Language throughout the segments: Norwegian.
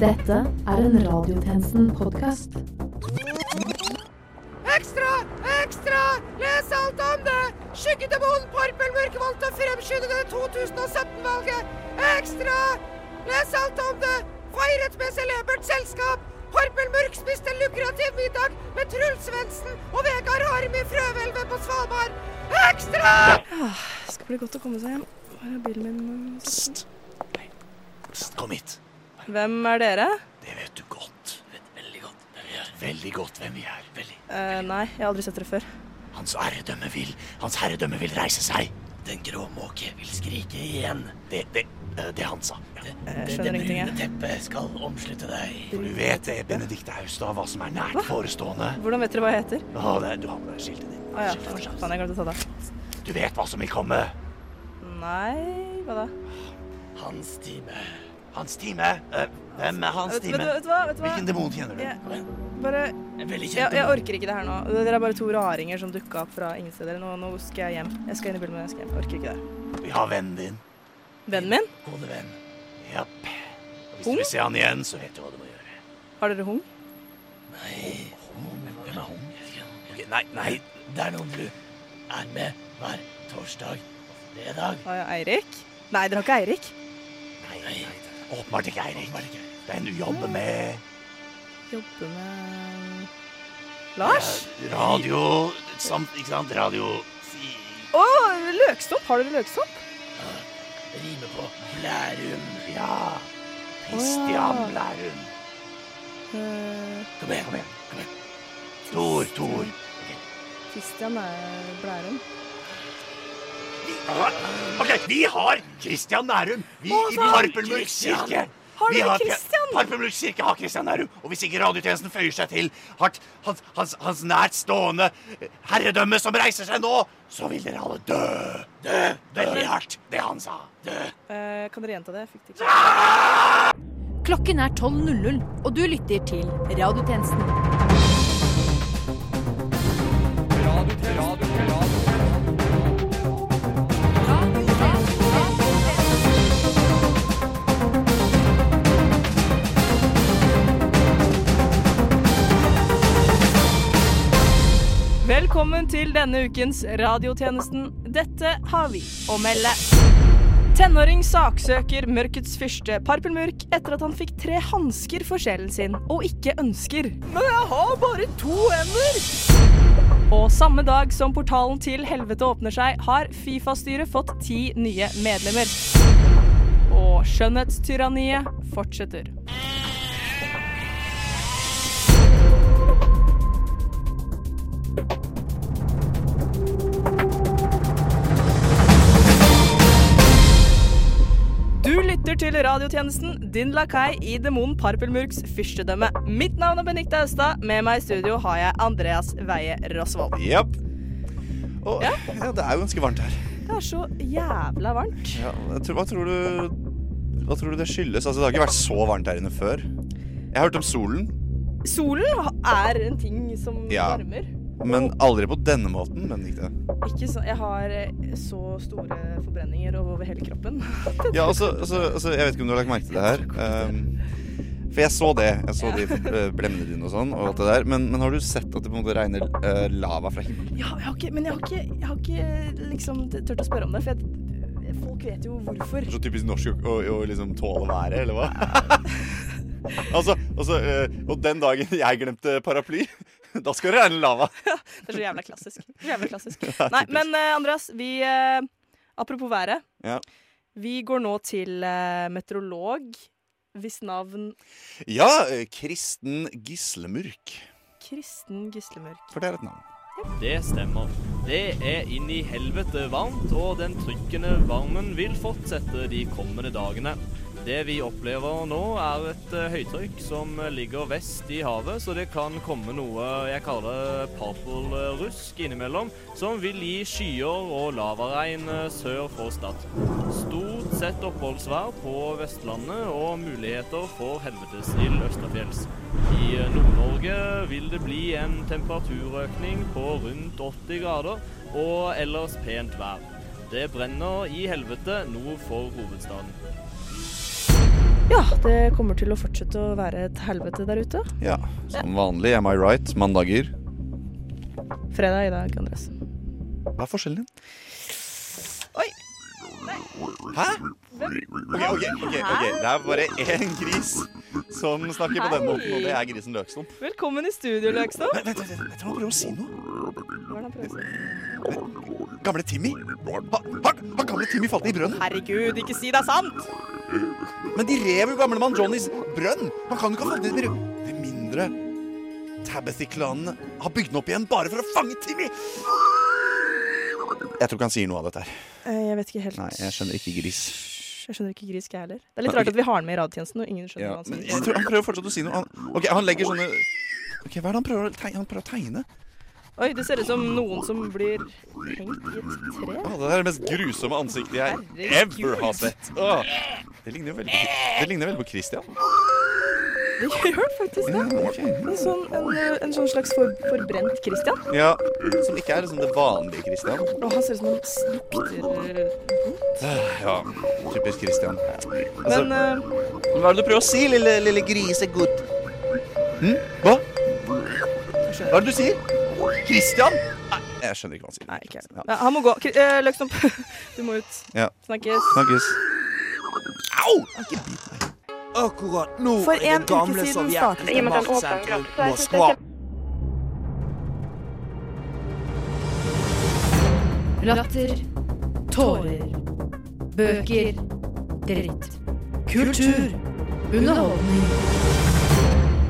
Dette er en Radiotjenesten-podkast. Ekstra! Ekstra! Les alt om det! Skyggedemonen Parpel Mørkevold til fremskyndede 2017-valget! Ekstra! Les alt om det! Feiret med celebert selskap! Parpel Mørk spiste lukrativ middag med Truls Svendsen og Vegard Harm i Frøhvelvet på Svalbard! Ekstra! Ah, det skal bli godt å komme seg hjem. Hvor er bilen min? Psst. Psst, Kom hit. Hvem er dere? Det vet du godt. Vet veldig godt hvem vi er. Veldig godt hvem vi er. Veldig. Eh, nei, jeg har aldri sett dere før. Hans herredømme vil Hans herredømme vil reise seg. Den grå måke vil skrike igjen. Det det, eh, det han sa. Ja. Jeg skjønner ingenting, jeg. teppet skal omslutte deg. For du vet det, Benedicte Austad, hva som er nært forestående. Hvordan vet dere hva jeg heter? Å, det er, du har med deg skiltet ditt. Å ja, Sånn, Skiltet faen, fortsatt. faen, jeg glemte å ta det. Du vet hva som vil komme. Nei, hva da? Hans time. Hans time? Eh, Hvem er hans Vet, vet, time? vet du hva? Vet du hva? Hvilken demon kjenner du? Jeg- Kom igjen. Bare, En veldig kjent jeg, jeg demon. orker ikke det her nå. Dere er bare to raringer som dukka opp fra ingen steder. Nå, nå skal jeg hjem. Jeg skal inn i bilen min. Jeg skal hjem. Jeg orker ikke det her. Vi har vennen din. Vennen min? Gode venn. Japp. Og Hvis Hung? du vil se han igjen, så vet du hva du må gjøre. Har dere hung? Nei, hvem er hun? Ok, nei, nei, det er noen du er med hver torsdag og fredag. Å ja, Eirik? Nei, dere har ikke Eirik. Nei, nei, nei. Åpenbart ikke Eirik. Det er en du jobber med. Jobber med Lars? Eh, Radio samt, ikke sant, radio Å, løkstomp! Har dere løkstomp? Rimer på Lærum. Ja. Christian Å, Lærum. Eh, Kom igjen, kom igjen. Kom igjen. Tor, Tor. Christian er Blærum. Ok, vi har Kristian Nærum. Vi Å, i sant. Parpelmørks kirke. Har Vi dere Pia- Kristian? Parpelmørks kirke har Kristian Nærum. Og hvis ikke radiotjenesten føyer seg til hardt, hans, hans, hans nært stående herredømme som reiser seg nå, så vil dere alle dø. Dø. Veldig hardt, det han sa. Dø. Eh, kan dere gjenta det? Jeg fikk det ikke. Klokken er 12.00, og du lytter til Radiotjenesten. Velkommen til denne ukens Radiotjenesten. Dette har vi å melde. Tenåring saksøker mørkets fyrste Parpelmørk etter at han fikk tre hansker for sjelen sin og ikke ønsker. Men jeg har bare to hender! Og samme dag som portalen til helvete åpner seg, har Fifa-styret fått ti nye medlemmer. Og skjønnhetstyranniet fortsetter. Du lytter til radiotjenesten Din Lakai i demonen Parpelmurks fyrstedømme. Mitt navn er Benikte Austad. Med meg i studio har jeg Andreas Veie Rosvold. Jepp. Og ja. det er jo ganske varmt her. Det er så jævla varmt. Ja, jeg tror, hva, tror du, hva tror du det skyldes? Altså, det har ikke vært så varmt her inne før. Jeg har hørt om solen, Solen er en ting som Ja. varmer. men aldri på denne måten. Men ikke det. Ikke så, jeg har eh, så store forbrenninger over hele kroppen. Ja, altså, altså, altså, jeg vet ikke om du har lagt merke til det her. ehm, for jeg så det. Jeg så de eh, blemmene dine og sånn. Og alt det der. Men, men har du sett at det på en måte regner eh, lava fra himmelen? Ja, jeg har ikke, men jeg har ikke, jeg har ikke liksom turt å spørre om det, for jeg, folk vet jo hvorfor. Så typisk norsk å- å å liksom tåle været, eller hva? altså, altså eh, Og den dagen jeg glemte paraply, da skal det regne lava. Det er så jævla klassisk. Så jævla klassisk. Nei, men eh, Andreas, vi eh, Apropos været. Ja. Vi går nå til eh, meteorolog, hvis navn Ja, eh, Kristen Gislemurk. Kristen Gislemørk. For det er et navn. Det stemmer. Det er inn i helvete varmt, og den trykkende varmen vil fortsette de kommende dagene. Det vi opplever nå, er et eh, høytrykk som ligger vest i havet, så det kan komme noe jeg kaller papelrusk innimellom, som vil gi skyer og lavaregn eh, sør for Stad. Stort sett oppholdsvær på Vestlandet og muligheter for helvetesild østafjells. I eh, Nord-Norge vil det bli en temperaturøkning på rundt 80 grader, og ellers pent vær. Det brenner i helvete nord for hovedstaden. Ja, det kommer til å fortsette å være et helvete der ute. Ja, som vanlig. Am I right? Mandager. Fredag i dag, Andreas. Hva er forskjellen? Ok, ok, ok, ok. Det er bare én gris som snakker på den måten, og det er grisen Løkstump. Velkommen i studio, Løkstad. Vent, vent, vent, vent, jeg må prøve å si noe. Hva er det han prøver å si? Gamle Timmy. Har, har, har gamle Timmy falt ned i brønnen? Herregud, ikke si det er sant! Men de rev jo gamlemann Johnnys brønn. Man kan jo ikke ha falt ned i brønnen. Med mindre Tabbathy-klanen har bygd den opp igjen bare for å fange Timmy. Jeg tror ikke han sier noe av dette her. Eh, Jeg vet ikke helt. Nei, jeg skjønner ikke gris. Jeg skjønner ikke grisk, jeg heller. Det er litt rart at vi har den med i radiotjenesten, og ingen skjønner Ja, hva han men sier. jeg tror han prøver fortsatt å si noe. Han, ok, han legger sånne Ok, Hva er det han prøver å tegne? Han prøver å tegne. Oi, det ser ut som noen som blir hengt i et tre. Å, det er det mest grusomme ansiktet jeg ever har sett. Å, det ligner jo veldig på, det ligner veldig på Christian. Det gjør faktisk det. Ja, ok. En sånn, en, eh, en sånn slags for, forbrent Christian. ja, som ikke er liksom det vanlige Christian. Og han ser ut som han eh. s- lukter Ja, typisk Christian. Altså, Men eh, Hva er det du prøver å si, lille, lille grisegutt? Hm? Hva? Hva er det du sier? Christian? Nei, jeg skjønner ikke hva han sier. Nei, ikke Ja. Nei, Han må gå. Kri- eh, Løkstomp, du må ut. Ja. Snakkes. Snakkes. Au! Akkurat nå For er en det uke gamle siden startet- sovjetiske maktsentrum Moskva Latter. Tårer. Bøker. Dritt. Kultur. Underholdning.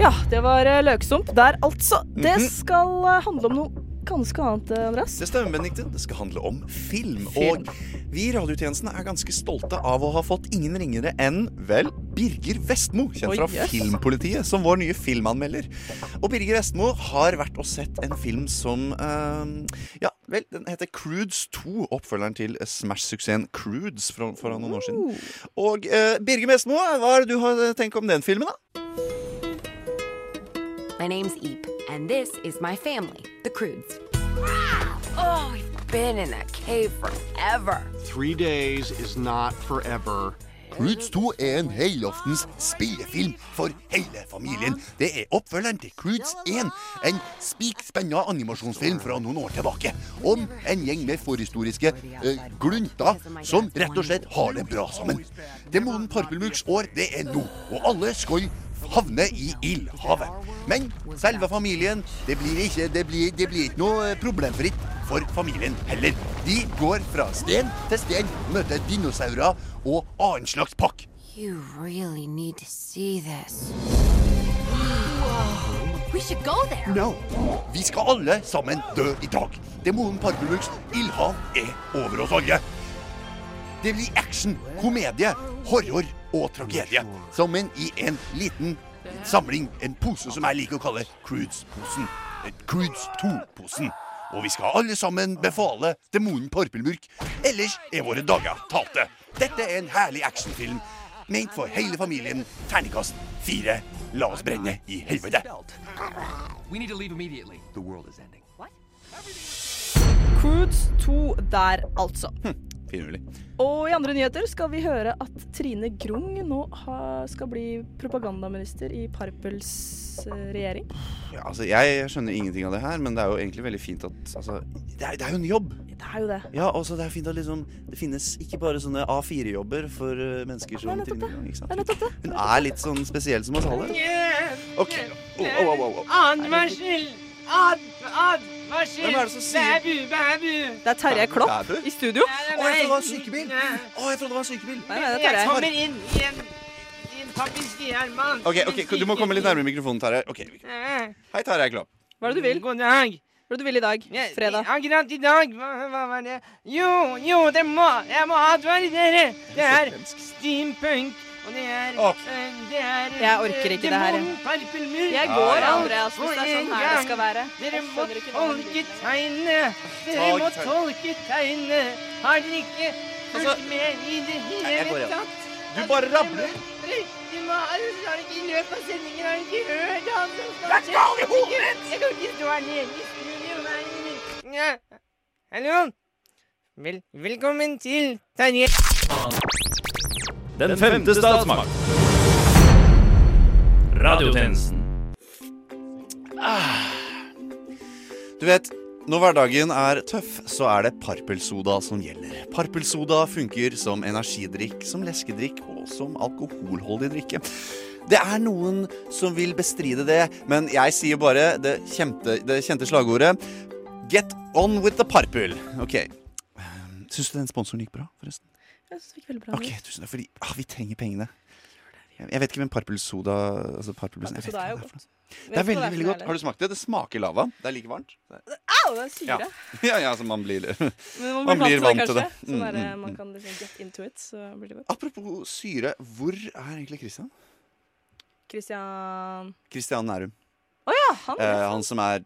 Ja, det var eh, Løksump der, altså. Det Mhm. skal eh, handle om noe ganske annet, eh, Andreas. Det stemmer, Benedikte. Det skal handle om film. Og vi i radiotjenesten er ganske stolte av å ha fått ingen ringere enn, vel, Birger Vestmo, kjent Oi, fra jøss. Filmpolitiet, som vår nye filmanmelder. Og Birger Vestmo har vært og sett en film som eh, Ja, vel, den heter Crudes 2, oppfølgeren til Smash-suksessen Crudes fra, for noen år siden. Og eh, Birger Vestmo, hva er det du har tenkt om den filmen, da? My name's Eep, and this is my family, the Crudes. Oh, we've been in that cave forever. Three days is not forever. Croods 2 er en helloftens spillefilm for hele familien. Det er oppfølgeren til Croods 1, en spikspenna animasjonsfilm fra noen år tilbake. Om en gjeng med forhistoriske eh, glunter som rett og slett har det bra sammen. Demonen Parpelmurks år, det er nå, og alle skal havne i ildhavet. Men selve familien, det blir ikke, det blir, det blir ikke noe eh, problemfritt for familien heller. De går fra sten til sten, møter dinosaurer og annen slags pakk. You really need to see this. We should go there. No. Vi skal alle sammen dø i dag. Demonen Parvelux ildhav er over oss alle. Det blir action, komedie, horror og tragedie. Sammen i en liten samling, en pose som jeg liker å kalle Crudes-posen. Eh, Crudes 2-posen. Og vi skal alle sammen befale demonen Parpelmurk. Ellers er våre dager talte. Dette er en herlig actionfilm. Ment for hele familien. Terningkast fire. La oss brenne i helvete. We need to leave immediately. The world is ending. Crudes 2 der, altså. Finurlig. Og i andre nyheter skal vi høre at Trine Grung nå ha, skal bli propagandaminister i Parpels eh, regjering. Ja, altså, jeg skjønner ingenting av det her, men det er jo egentlig veldig fint at altså, det, er, det er jo en jobb. Det er jo det. Ja, også det er fint at liksom, det finnes ikke bare sånne A4-jobber for eh, mennesker som Det er nettopp Trine Grung. ikke sant? Det er nettopp det. Hun er litt sånn spesiell som oss alle. Ok, oh, oh, oh, oh, oh. Advarsel! Ad, advarsel! Hvem er det som sier- Bæbu, bæbu! Det er Terje Klopp Bæbu? i studio. Å, jeg trodde det var en sykebil! Å, jeg trodde det var en sykebil! Nei, nei, det er Jeg Terje. kommer inn i en, i en papirskiermann. Ok, ok, Du må komme litt nærmere mikrofonen, Tarjei. Ok, Hei, Tarjei Klopp. Hva er det du vil? God dag. Hva er det du vil i dag? Jeg- Fredag. Akkurat i dag, hva, hva var det? Jo, jo, det må, jeg må advare dere. Det er steampunk, og det er... Ok. eh, Det er... Jeg orker ikke det her, jeg. Demonen Parpelmur. Jeg går, går, Andreas, hvis det er sånn her det skal være. Dere må tolke tegnene! Dere Tag må tegn. tolke tegnene! Har dere ikke fulgt Altså, med i det jeg går hele igjen. tatt? Du bare rabler. Du må alle har ikke i løpet av sendingen har dere ikke hørt alt som skal skje. Jeg kan ikke- Jeg kan ikke stå her nede i studio. nei, men- Ja. Hallo? Vel, velkommen til Terje. Den femte statsmakt. Radiotjenesten. Du vet, når hverdagen er tøff, så er det Parpelsoda som gjelder. Parpelsoda funker som energidrikk, som leskedrikk og som alkoholholdig drikke. Det er noen som vil bestride det, men jeg sier bare det kjente, det kjente slagordet Get on with the parpel. Ok. Syns du den sponsoren gikk bra, forresten? Jeg synes det gikk veldig bra. Ok, tusen takk, fordi ah, vi trenger pengene. Jeg vet ikke hvem Parpelsoda altså Parpelbussen, jeg Så vet ikke det er jo hva det er for noe. godt. Det er veldig, veldig godt. Har du smakt det? Det smaker lava. Det er like varmt. Au, det er syre. Ja. ja, ja, altså man blir Men Man man blir vant til det, blir vant kanskje. til det. Sånn Mm, der, mm, man kan liksom get into it, så blir det godt. Apropos syre, hvor er egentlig Christian? Christian Christian Nærum. Ja, han sånn Eh, han som er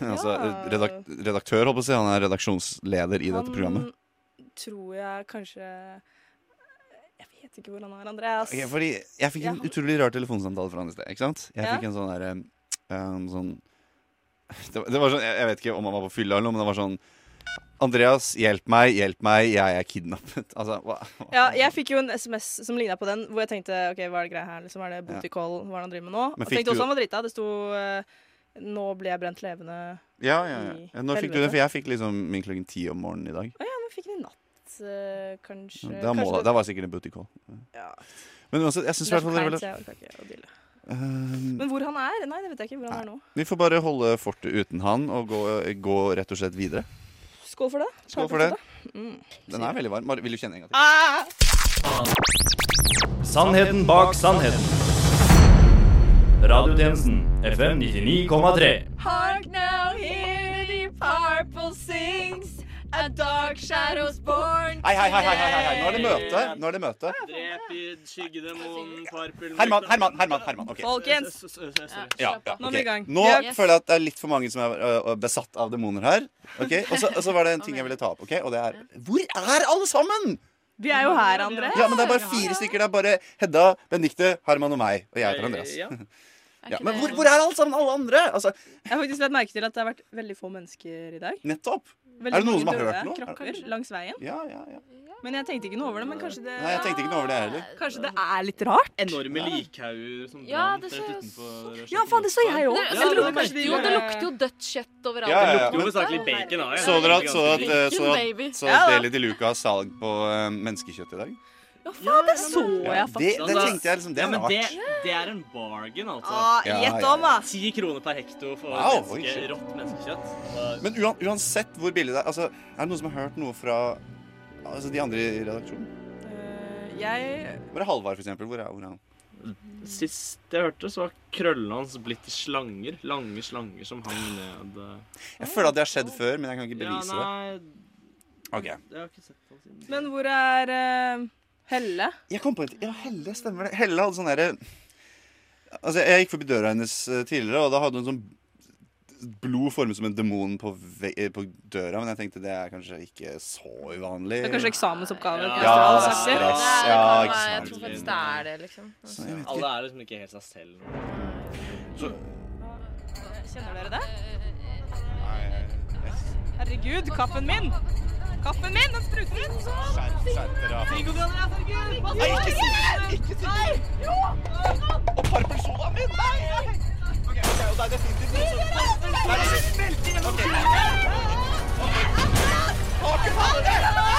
eh, altså, Ja. redak redaktør, holdt på å si. Han er redaksjonsleder i dette programmet. Han tror jeg kanskje Jeg vet ikke hvor han er, Andreas. Ok, fordi jeg fikk Ja, en han- utrolig rar telefonsamtale fra han i sted. Ikke sant? Jeg Ja. fikk en sånn derre um, sånn, det, var- det var sånn Jeg jeg vet ikke om han var på fylla eller noe, men det var sånn Andreas, hjelp meg, hjelp meg, jeg er kidnappet. Altså, hva? hva- Ja, jeg fikk jo en SMS som ligna på den, hvor jeg tenkte OK, hva er det greia her? Liksom, er det booty call? Hva er det han driver med nå? Men Jeg fikk tenkte du- også han var drita. Det sto eh, 'Nå ble jeg brent levende'. ja, ja, ja. Når fikk du Helvete. den? For jeg fikk liksom min klokken ti om morgenen i dag. Ja, men fikk den i natt, eh, kanskje. Da, må, kanskje da var det sikkert en booty call. Ja. Men uansett, jeg syns i hvert fall det Kleint, var så jeg orker ikke å deale. Ehm, Men hvor han er? Nei, det vet jeg ikke. Hvor han er nå. Vi får bare holde fortet uten han og gå, eh, gå rett og slett videre. Skål for det. Skål for det. Mm. Den er veldig varm. Mari, Vil du kjenne en gang til? Ah! Sannheten bak sannheten. Radiotjenesten FM 99,3. Hark now, hear the purple sings. A dark shadow's born. Hei, hei, hei, hei, hei, hei, hei. Nå er det møte. Nå er det møte. Drep i skyggedemonen Parpel Herman, Herman, Herman. Herman. Ok. Folkens, Ja, ja, Nå er ok. vi i gang. Nå Yes. føler jeg at det er litt for mange som er ø, ø, besatt av demoner her. Ok, Og så, og så var det en ting jeg ville ta opp. ok? Og det er Hvor er alle sammen?! vi er jo her, André. Ja, men Det er Ah, bare fire stykker. Det er bare Hedda, Benedicte, Herman og meg. Og jeg heter Andreas. Eh, Ja, Ja. men hvor, hvor er alle sammen? Alle andre? Altså, Jeg har faktisk lagt merke til at det har vært veldig få mennesker i dag. Nettopp. Veldig det noen som mange har døde hørt noe? Krokker langs veien. Ja, ja, ja. Men jeg tenkte ikke noe over det. Men kanskje det, Nei, jeg tenkte ikke noe over det heller. kanskje det er litt rart? Enorme likhauger som Ja, brant det så rett jo utenfor Ja, faen, det så jeg òg. Ja, Det, altså, det, det lukter merker jo, jeg. det lukter jo dødt kjøtt overalt. Ja, ja, Det ja. lukter jo hovedsakelig bacon. da. Jeg Så dere at, er så at, ganske- eh, så at, baby. så at Deli de Luca har salg på eh, menneskekjøtt i dag? Det så jeg Det, faktisk. det tenkte jeg liksom, det Ja, er men det, rart. det er en bargain, altså. Ah, Ja, Gjett ja, om, da. Ti kroner per hekto for Wow, oi, menneske, shit. rått menneskekjøtt. Så- Men uan, uansett hvor billig det er altså, Er det noen som har hørt noe fra altså, de andre i redaksjonen? Eh, Jeg Hvor er Halvard, for eksempel? Hvor er, hvor er han? Sist jeg hørte, så var krøllene hans blitt slanger. Lange slanger som hang ned. eh. Jeg føler at det har skjedd før, men jeg kan ikke bevise det. nei, Ok. jeg har ikke sett han siden. Men hvor er eh, Helle? Jeg kom på et Ja, Helle, stemmer det. Helle hadde sånn derre Altså, jeg gikk forbi døra hennes eh, tidligere, og da hadde hun sånn blod formet som en demon på, ve eh, på døra, men jeg tenkte det er kanskje ikke så uvanlig. Det er kanskje eksamensoppgave? Ja, Kristian det er Saker. stress. det Eh, Ja, ikke kan være- Jeg sant. tror faktisk det er det, liksom. Så jeg vet ikke. Alle er liksom ikke helt seg selv. Kjenner dere det? Nei, jeg- Herregud, kappen min! Kappen min, den spruter ut! Skjerp skjerp dere. av. Viggo Galler, herregud! hva Nei, ikke skal si jeg gjøre? det! Ikke si Nei! det! Jo! Og parpelsodaen min! Nei! Ok, ok, og det er definitivt noe som Nei, det er- Ok. Ok. Taket faller! um né?